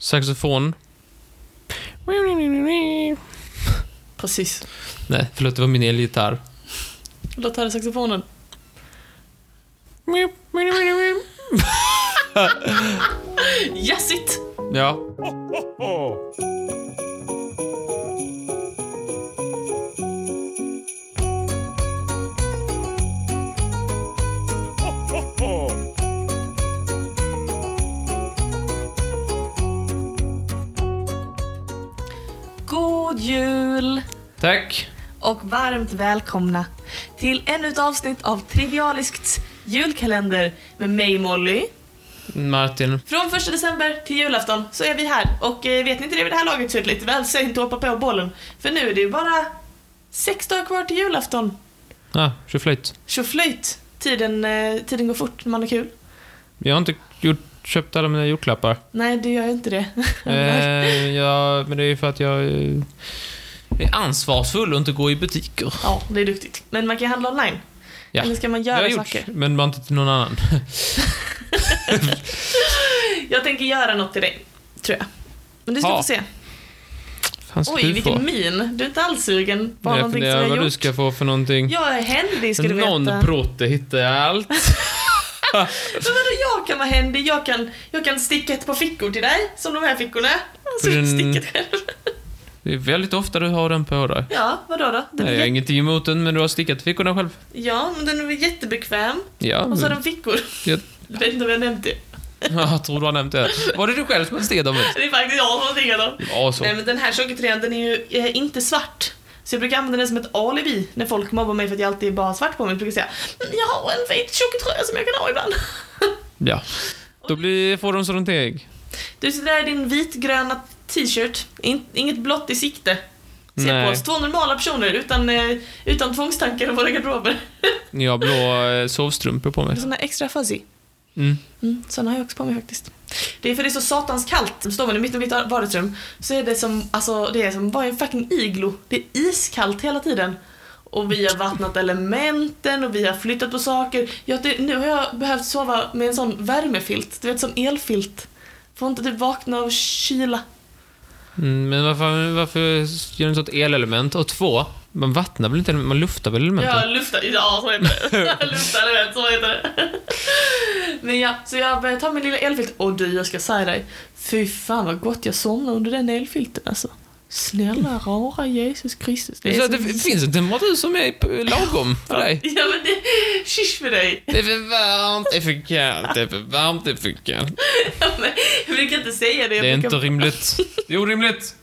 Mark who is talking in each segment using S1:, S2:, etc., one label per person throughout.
S1: Saxofon.
S2: Precis.
S1: Nej, förlåt, det var min elgitarr.
S2: Låt höra saxofonen. Yes it!
S1: Ja.
S2: God jul!
S1: Tack.
S2: Och varmt välkomna till ännu ett avsnitt av Trivialiskt julkalender med mig Molly.
S1: Martin.
S2: Från 1 december till julafton så är vi här och eh, vet ni inte det vid det här laget så är det lite väl sent att hoppa på bollen. För nu är det ju bara sex dagar kvar till julafton.
S1: Ja, tjoflöjt.
S2: Tjoflöjt! Tiden, eh, tiden går fort när man har kul.
S1: Jag har inte gjort, köpt alla mina julklappar.
S2: Nej, det gör ju inte det.
S1: eh, jag, men det är ju för att jag eh, är ansvarsfull och inte går i butiker.
S2: Ja, det är duktigt. Men man kan handla online.
S1: Ja,
S2: Eller ska man
S1: det har
S2: göra
S1: jag gjort,
S2: saker?
S1: men bara inte till någon annan.
S2: Jag tänker göra något till dig, tror jag. Men du ska
S1: Ja.
S2: få se.
S1: Fan ska
S2: Oj,
S1: du få?
S2: vilken min. Du är inte alls sugen på
S1: Nej, jag
S2: någonting som
S1: funderar
S2: jag
S1: vad
S2: har
S1: du
S2: gjort.
S1: ska få för någonting.
S2: Jag är händig, ska du veta.
S1: någon
S2: Men
S1: brotte hittar jag allt.
S2: vadå, jag kan vara händig. Jag kan, jag kan sticka ett par fickor till dig, som de här fickorna. Alltså,
S1: För en-
S2: sticka själv.
S1: Det är väldigt ofta du har den på dig.
S2: Ja, vadå då? Den
S1: Nej,
S2: är
S1: jag har
S2: jätte...
S1: ingenting emot den, men du har stickat fickorna själv.
S2: Ja, men den är väl jättebekväm.
S1: Ja,
S2: Och så har
S1: men-
S2: den fickor.
S1: Mm. jag,
S2: Jag vet inte om jag nämnt det.
S1: jag tror du har nämnt det. Var det du själv som steg dem?
S2: Det är faktiskt jag som har stickat dem.
S1: Ja, så.
S2: Nej men den här tjocktröjan den är ju eh, inte svart. Så jag brukar använda den som ett alibi när folk mobbar mig för att jag alltid bara har svart på mig. Jag brukar säga men jag har en vit tjocktröja som jag kan ha ibland.
S1: Ja. Då blir, får de sådant ägg.
S2: Du sitter där i din vitgröna t-shirt, In, inget blått i sikte. Se
S1: Nej.
S2: på oss, två normala personer utan, eh, utan tvångstankar i våra garderober.
S1: Jag har blå eh, sovstrumpor på mig.
S2: Såna extra fuzzy.
S1: Mm.
S2: Mm, såna har jag också på mig faktiskt. Det är för det är så satans kallt. Står man i mitt i mitt vardagsrum så är det som, alltså det är som bara en fucking iglo. Det är iskallt hela tiden. Och vi har vattnat elementen och vi har flyttat på saker. Jag, det, nu har jag behövt sova med en sån värmefilt, du vet som elfilt. Får inte typ vakna av kyla.
S1: Mm, men varför, varför gör ni sånt elelement? Och två, man vattnar väl inte, man luftar väl elementen?
S2: Jag luftar, ja så heter det. luftar element, så heter det. Men ja, så jag börjar ta min lilla elfilt. Och du, jag ska säga dig. Fy fan vad gott jag somnade under den elfilten alltså. Snälla rara Jesus Kristus.
S1: Det, så att det f- finns en temperatur som är p- lagom för dig.
S2: Ja men det, shish med dig.
S1: Det är för varmt, det är för kallt, det är för varmt, det är för kallt.
S2: Ja, men Jag brukar inte säga det. Jag
S1: Det är
S2: brukar...
S1: inte rimligt. Det är orimligt.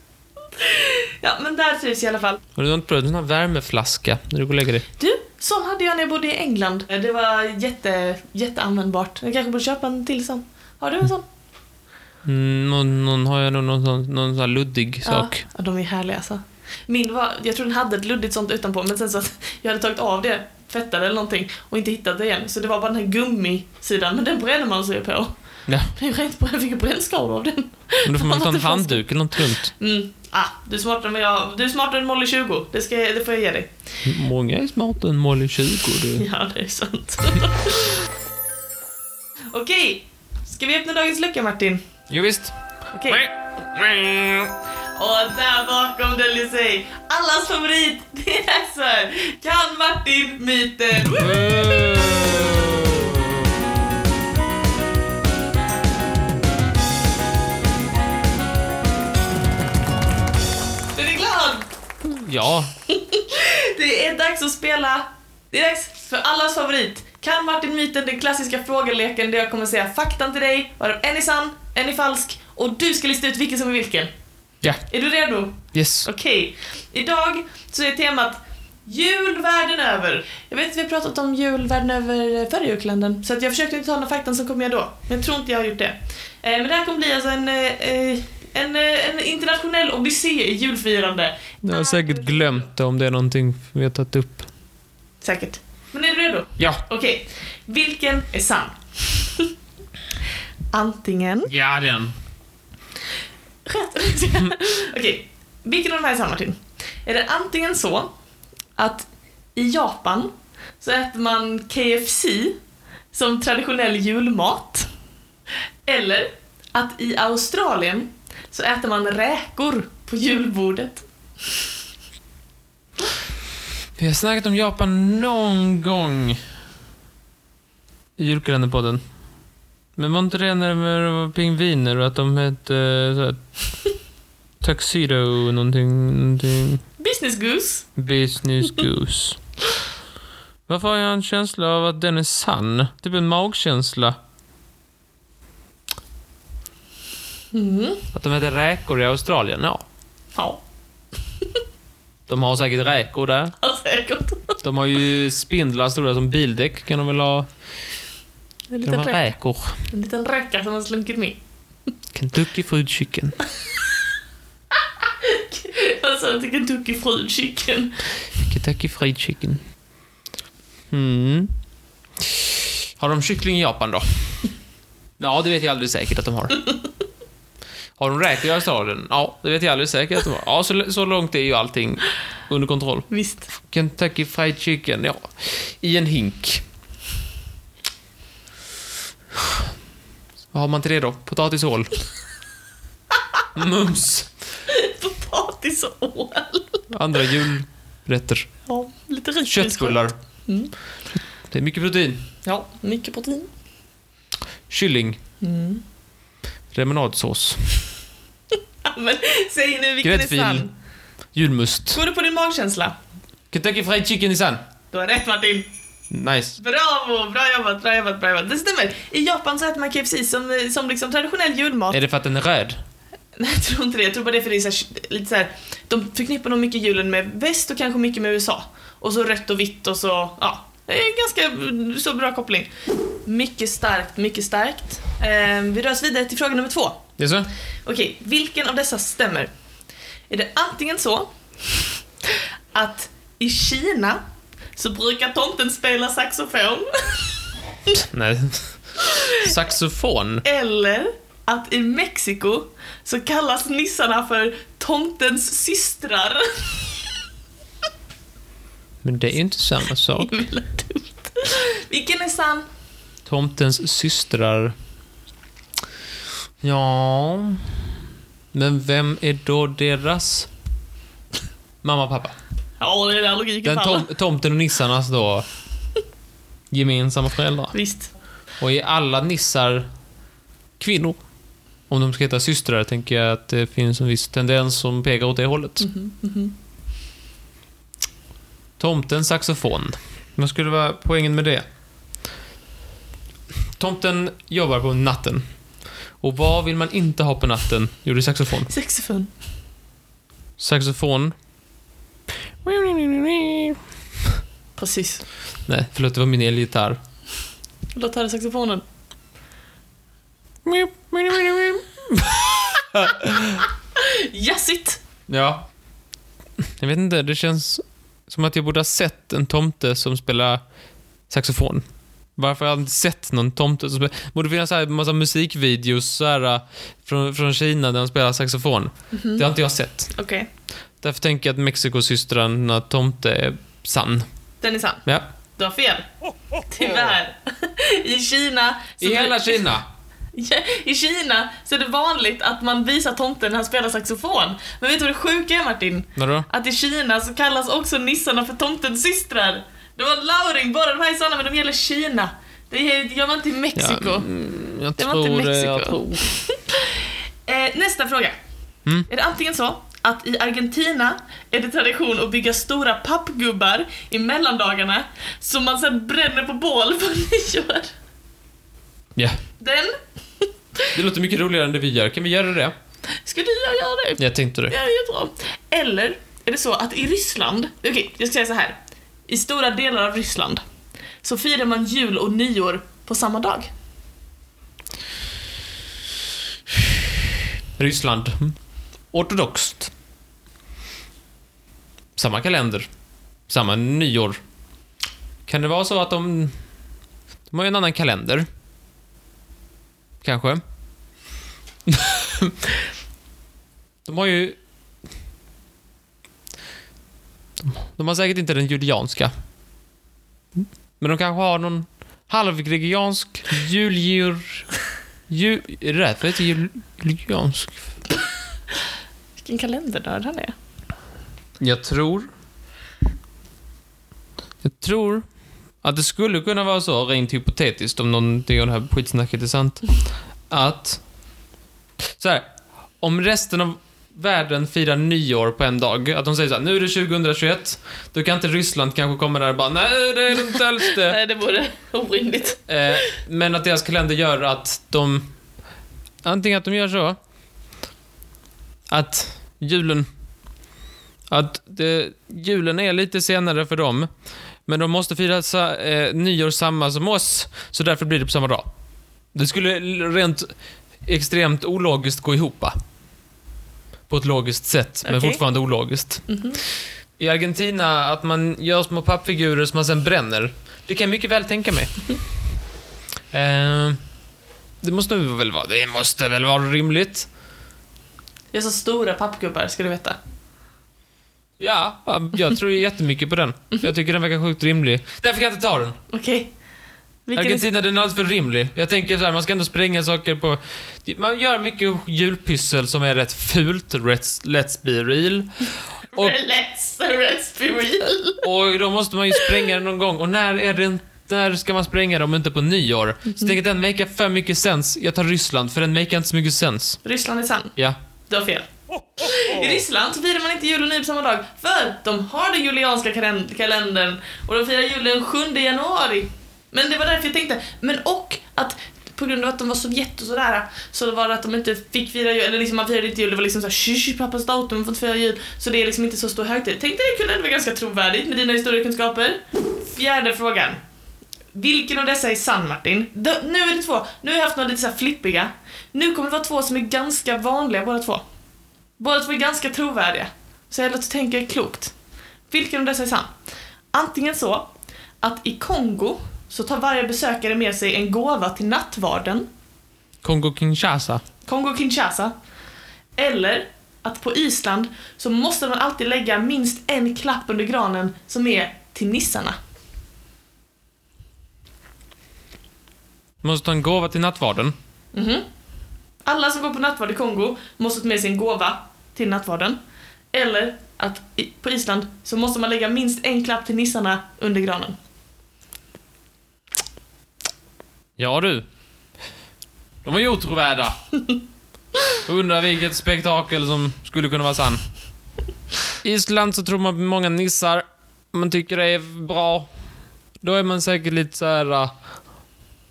S2: Ja men där trivs jag i alla fall.
S1: Har du inte provat en sån här värmeflaska när du går och lägger dig?
S2: Du, sån hade jag när jag bodde i England. Det var jätte, jätteanvändbart. Jag kanske borde köpa en till sån. Har du en sån?
S1: Mm, någon, någon har jag nog någon sån, någon sån här luddig sak.
S2: Ja, ja, de är härliga alltså. Min var, jag tror den hade ett luddigt sånt utanpå men sen så att jag hade tagit av det, tvättade eller någonting och inte hittat det igen. Så det var bara den här gummisidan, men den bränner man sig på.
S1: Ja.
S2: Jag vet inte, jag fick ju brännskador av den.
S1: Men då får man ta en
S2: Det fanns-
S1: handduk eller något runt.
S2: Mm. Ah, du är smartare än vad jag, du är smartare än Molly 20. Det, ska, jag- det får jag ge dig.
S1: Många är smartare än Molly 20. Du.
S2: Ja, det är sant. Okej, ska vi öppna dagens lucka Martin?
S1: Jo, visst.
S2: Okej. Och där bakom Delisey, allas favorit, det är alltså dags för Kan Martin myten? Woo! Är du glad?
S1: Ja,
S2: Det är dags att spela, det är dags för allas favorit Kan Martin myten, den klassiska frågeleken där jag kommer säga faktan till dig, varav en är sann, en är falsk och du ska lista ut vilken som är vilken.
S1: ja,
S2: Är du redo?
S1: yes.
S2: Okej, idag så är temat jul världen över. Jag vet att vi har pratat om jul världen över eh, förra julkalendern, så att jag försökte inte ta några fakta som kom jag då. Men jag tror inte jag har gjort det. Eh, men det här kommer bli alltså en, eh, eh, en, eh, en internationell odyssé i julfirande.
S1: Jag har säkert glömt det om det är någonting vi har tagit upp.
S2: Säkert. Men är du redo?
S1: Ja.
S2: Okej, vilken är sann? Antingen...
S1: Ja, den.
S2: Rätt. Okej, vilken av de här är sann Martin? Är det antingen så att i Japan så äter man KFC som traditionell julmat. Eller att i Australien så äter man räkor på julbordet.
S1: Vi har snackat om Japan någon gång i julkalenderpodden. Men var inte det när det var pingviner och att de hette eh, så här, Tuxedo någonting, någonting.
S2: Business goose.
S1: Business Goose. Varför har jag en känsla av att den är sann? Typ en magkänsla.
S2: Mm.
S1: Att de heter räkor i Australien, ja.
S2: Ja,
S1: De har säkert räkor där.
S2: säkert.
S1: De har ju spindlar stora som bildäck. Kan de väl ha?
S2: En
S1: Kan de
S2: liten,
S1: ha
S2: rä-
S1: räkor?
S2: en liten räka som har slunkit med.
S1: Kentucky Fried Chicken.
S2: Alltså, Jag sa att det kan ducka fried chicken.
S1: Kentucky Fried Chicken. Mm. Har de kyckling i Japan då? Ja, det vet jag aldrig säkert att de har. Har de räkor i Australien? Ja, det vet jag aldrig säkert att de har. Ja, så, så långt är ju allting under kontroll.
S2: Visst.
S1: Kentucky Fried Chicken, ja. I en hink. Vad har man till det då? Potatishål? Mums!
S2: Potatis och ål.
S1: Andra julrätter.
S2: Ja, lite ris.
S1: Köttbullar.
S2: Mm.
S1: Det är mycket protein.
S2: Ja, mycket protein.
S1: Kylling.
S2: Mm.
S1: Remonadsås.
S2: Ja, men säg nu vilken
S1: Gräddfil.
S2: är sann.
S1: Julmust.
S2: Går du på din magkänsla?
S1: Kentucky Fried Chicken i sen.
S2: Du har rätt Martin.
S1: Nice.
S2: Bravo! Bra jobbat, bra jobbat, bra jobbat. Det stämmer. I Japan så äter man KFC som, som liksom traditionell julmat.
S1: Är det för att den är röd?
S2: Nej, jag tror inte det. Jag tror bara det är för det är så här, lite så här, de förknippar nog mycket julen med väst och kanske mycket med USA. Och så rött och vitt och så, ja. Det är en ganska mm, så bra koppling. Mycket starkt, mycket starkt. Eh, vi rör oss vidare till fråga nummer två.
S1: Jaså?
S2: Okej, vilken av dessa stämmer? Är det antingen så att i Kina så brukar tomten spela saxofon
S1: Nej. Saxofon.
S2: eller att i Mexiko så kallas nissarna för tomtens systrar.
S1: Men det är inte samma sak.
S2: Himla dumt. Vilken är sann?
S1: Tomtens systrar. Ja... Men vem är då deras mamma och pappa?
S2: Ja, det är där logiken
S1: Den
S2: faller.
S1: tom tomten och nissarnas då gemensamma föräldrar.
S2: Visst.
S1: Och är alla nissar kvinnor? Om de ska heta systrar tänker jag att det finns en viss tendens som pekar åt det hållet. Tomten saxofon. Vad skulle vara poängen med det? Tomten jobbar på natten. Och vad vill man inte ha på natten? Jo, det är saxofon.
S2: Saxofon.
S1: Saxofon.
S2: Precis.
S1: Nej, förlåt, det var min elgitarr.
S2: Låt höra saxofonen. Jassigt!
S1: Ja. Jag vet inte, det känns som att jag borde ha sett en tomte som spelar saxofon. Varför har jag inte sett någon tomte som spelar... borde finnas så här massa musikvideos så här, äh, från, från Kina där de spelar saxofon.
S2: Mhm.
S1: Det har inte jag sett.
S2: Okej,
S1: Därför tänker jag att Mexikosystrarna tomte är sann.
S2: den är sann.
S1: Ja.
S2: Du har fel. Tyvärr. I Kina... så-
S1: I hela Kina!
S2: I Kina så är det vanligt att man visar tomten när han spelar saxofon. Men vet du vad det sjuka är Martin?
S1: Vadå?
S2: Att i Kina så kallas också nissarna för tomtens systrar. Det var Lauring, bara de här är sanna men de gäller Kina. Det gör man inte i Mexiko.
S1: mm, jag
S2: Det var
S1: tror
S2: inte
S1: det,
S2: Mexiko.
S1: jag tror.
S2: Eh, nästa fråga.
S1: Mm.
S2: Är det antingen så att i Argentina är det tradition att bygga stora pappgubbar i mellandagarna som man sedan bränner på bål på nyår?
S1: Ja.
S2: Den?
S1: Det låter mycket roligare än det vi gör. Kan vi göra det?
S2: Skulle jag göra det?
S1: Jag tänkte
S2: Ja,
S1: det.
S2: det är bra. Eller är det så att i Ryssland, okej, jag ska säga så här. I stora delar av Ryssland så firar man jul och nyår på samma dag.
S1: Ryssland. Mm. Ortodoxt. Samma kalender. Samma nyår. Kan det vara så att de... De har ju en annan kalender. Kanske. de har ju... De har säkert inte den julianska. Men de kanske har någon halvgregiansk juljur... Ju, är det därför det heter jul- juliansk?
S2: vilken kalendernörd han är.
S1: Jag tror... Jag tror att det skulle kunna vara så, rent hypotetiskt, om någonting av det här skitsnacket är sant, att... Så här, om resten av världen firar nyår på en dag, att de säger så här, nu är det 2021, då kan inte Ryssland kanske komma där och bara, nej det är det inte alls det.
S2: Nej, det vore orimligt.
S1: Eh, men att deras kalender gör att de... Antingen att de gör så. Att julen... Att det, julen är lite senare för dem. Men de måste fira sa, eh, nyår samma som oss. Så därför blir det på samma dag. Det skulle l- rent extremt ologiskt gå ihop. va? På ett logiskt sätt, men
S2: Okej.
S1: fortfarande ologiskt. I Argentina, att man gör små pappfigurer som man sen bränner. Det kan jag mycket väl tänka mig. Eh, det måste väl vara, det måste väl vara rimligt?
S2: Jag är så stora pappgubbar, ska du veta.
S1: Ja, jag tror jättemycket på den. Jag tycker den verkar sjukt rimlig. Därför kan jag inte ta den.
S2: Okej. Vilken är-
S1: Argentina, den är alldeles för rimlig. Jag tänker så här, man ska ändå spränga saker på... Man gör mycket julpyssel som är rätt fult, rätt, let's be real. Och,
S2: Let's, let's be real.
S1: och då måste man ju spränga den någon gång. Och när är det när ska man spränga dem? Inte på nyår. Så tänker jag, den make för mycket sens. Jag tar Ryssland, för den make inte så mycket sens.
S2: Ryssland är sann.
S1: Ja.
S2: Du har fel. I Ryssland så firar man inte jul och nyår på samma dag, för de har den julianska kalen- kalendern och de firar jul den 7 januari. Men det var därför jag tänkte, men och att på grund av att de var Sovjet och sådär, så var det att de inte fick fira jul, eller liksom man firade inte jul, det var liksom såhär tjus, pappas datum, man får inte fira jul. Så det är liksom inte så stor högtid. Tänkte det kunde ändå vara ganska trovärdigt med dina historiekunskaper. Fjärde frågan. Vilken av dessa är sann Martin? Då, nu är det två. Nu har jag haft några lite så här flippiga. Nu kommer det vara två som är ganska vanliga båda två. Båda två är ganska trovärdiga. Så jag låter tänka klokt. Vilken av dessa är sann? Antingen så att i Kongo så tar varje besökare med sig en gåva till nattvarden,
S1: Kongo-Kinshasa.
S2: Kongo-Kinshasa. Eller att på Island så måste man alltid lägga minst en klapp under granen som är till nissarna.
S1: Måste ta en gåva till nattvarden.
S2: Mhm. Alla som går på nattvard i Kongo måste ta med sig en gåva till nattvarden. Eller att i, på Island så måste man lägga minst en klapp till nissarna under granen.
S1: Ja du. De är ju otrovärda. Undrar vilket spektakel som skulle kunna vara sann. Island så tror man på många nissar. Man tycker det är bra. Då är man säkert lite så här. uh,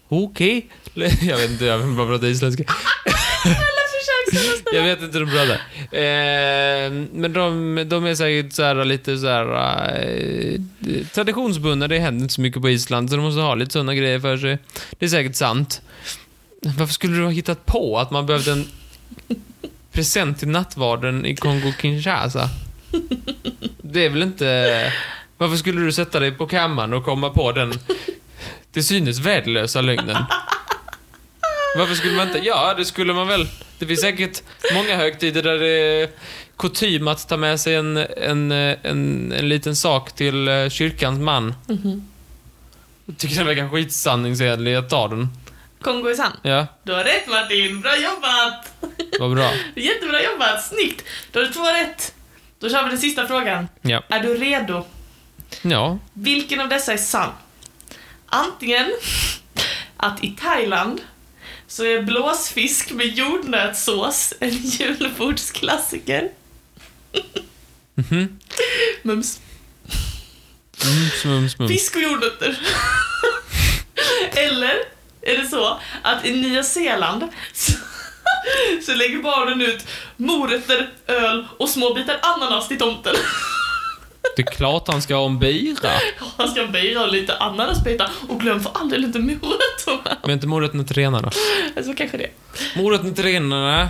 S1: Okej. Jag vet inte, jag vill bara prata isländska.
S2: Alla försök ska nästan...
S1: Jag vet inte hur de pratar. Eh, men de, de är säkert så här, äh, lite så här eh, traditionsbundna. Det händer inte så mycket på Island, så de måste ha lite sådana grejer för sig. Det är säkert sant. Varför skulle du ha hittat på att man behövde en present till nattvarden i Kongo-Kinshasa? Det är väl inte... Varför skulle du sätta dig på kammaren och komma på den till synes värdelösa lögnen? Varför skulle man inte? Ja, det skulle man väl. Det finns säkert många högtider där det är kutym att ta med sig en, en, en, en liten sak till eh, kyrkans man. Jag tycker den verkar skitsanningsenlig. Jag tar den.
S2: Kongo är sann.
S1: Ja,
S2: Du har rätt Martin, bra jobbat!
S1: vad bra.
S2: Jättebra jobbat, snyggt! Då har du två rätt. Då kör vi den sista frågan.
S1: Ja.
S2: Är du redo?
S1: Ja.
S2: Vilken av dessa är sann? Antingen att i Thailand så är blåsfisk med jordnötssås en julbordsklassiker.
S1: Mhm.
S2: Mums.
S1: Mums, mums, mums.
S2: Fisk och jordnötter. Eller är det så att i Nya Zeeland så, så lägger barnen ut morötter, öl och små bitar ananas till tomten.
S1: Det är klart han ska ha en bira.
S2: Han ska böja och lite ananasbitar och glöm för all del inte morötterna.
S1: Men inte morötterna till renarna.
S2: Alltså kanske det.
S1: Morötterna till renarna.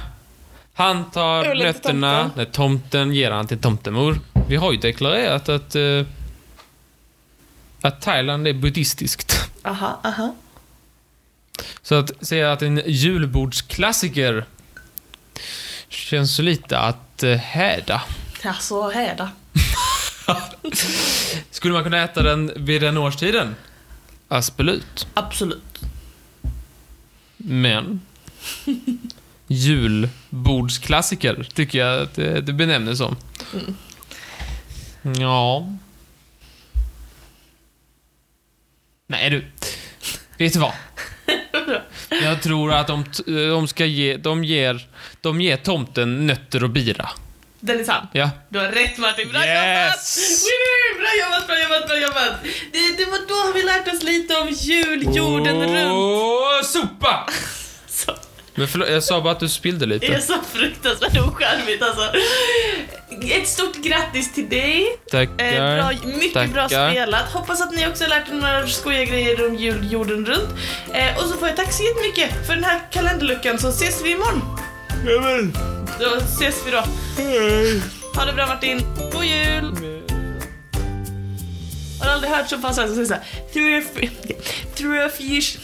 S1: Han tar
S2: Ölen till
S1: nötterna.
S2: tomten.
S1: Nej, tomten ger han till tomtemor. Vi har ju deklarerat att... eh, att Thailand är buddhistiskt.
S2: Aha, aha.
S1: Så att säga att en julbordsklassiker känns så lite att eh, häda.
S2: Alltså häda.
S1: Skulle man kunna äta den vid den årstiden? Absolut.
S2: Absolut.
S1: Men julbordsklassiker, tycker jag att det, det benämns som. Ja. Nej du. Vet du vad? Jag tror att de, t- de ska ge, de ger, de ger tomten nötter och bira.
S2: Den är sann.
S1: Ja.
S2: Du har rätt Martin, bra
S1: Yes!
S2: jobbat! Woo! Bra jobbat, bra jobbat, bra jobbat! Det, det var då har vi lärt oss lite om jul, jorden runt.
S1: Åh, sopa!
S2: Så,
S1: Men förlåt, jag sa bara att du spillde lite.
S2: det är så fruktansvärt ocharmigt alltså. Ett stort grattis till dig. Eh,
S1: Tackar.
S2: bra, mycket bra
S1: Tackar.
S2: spelat. Hoppas att ni också har lärt er några skojiga grejer om jul, jorden runt. Eh, och så får jag tack så jättemycket för den här kalenderluckan så ses vi imorgon.
S1: Jajamän.
S2: Då ses vi då. Ha det bra Martin. God jul! Har du aldrig hört så pass här som säger såhär Through a free... Through a few... sh-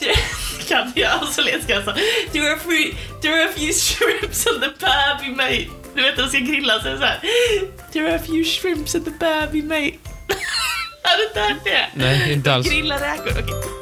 S2: through- Kan jag alltså läska alltså. Through a free... Through a few shrimps and the baby mate. Du vet när de ska grilla så är det såhär Through a few shrimps and the baby mate. Har du inte hört det?
S1: Nej, inte alls.
S2: Grilla räkor, okej.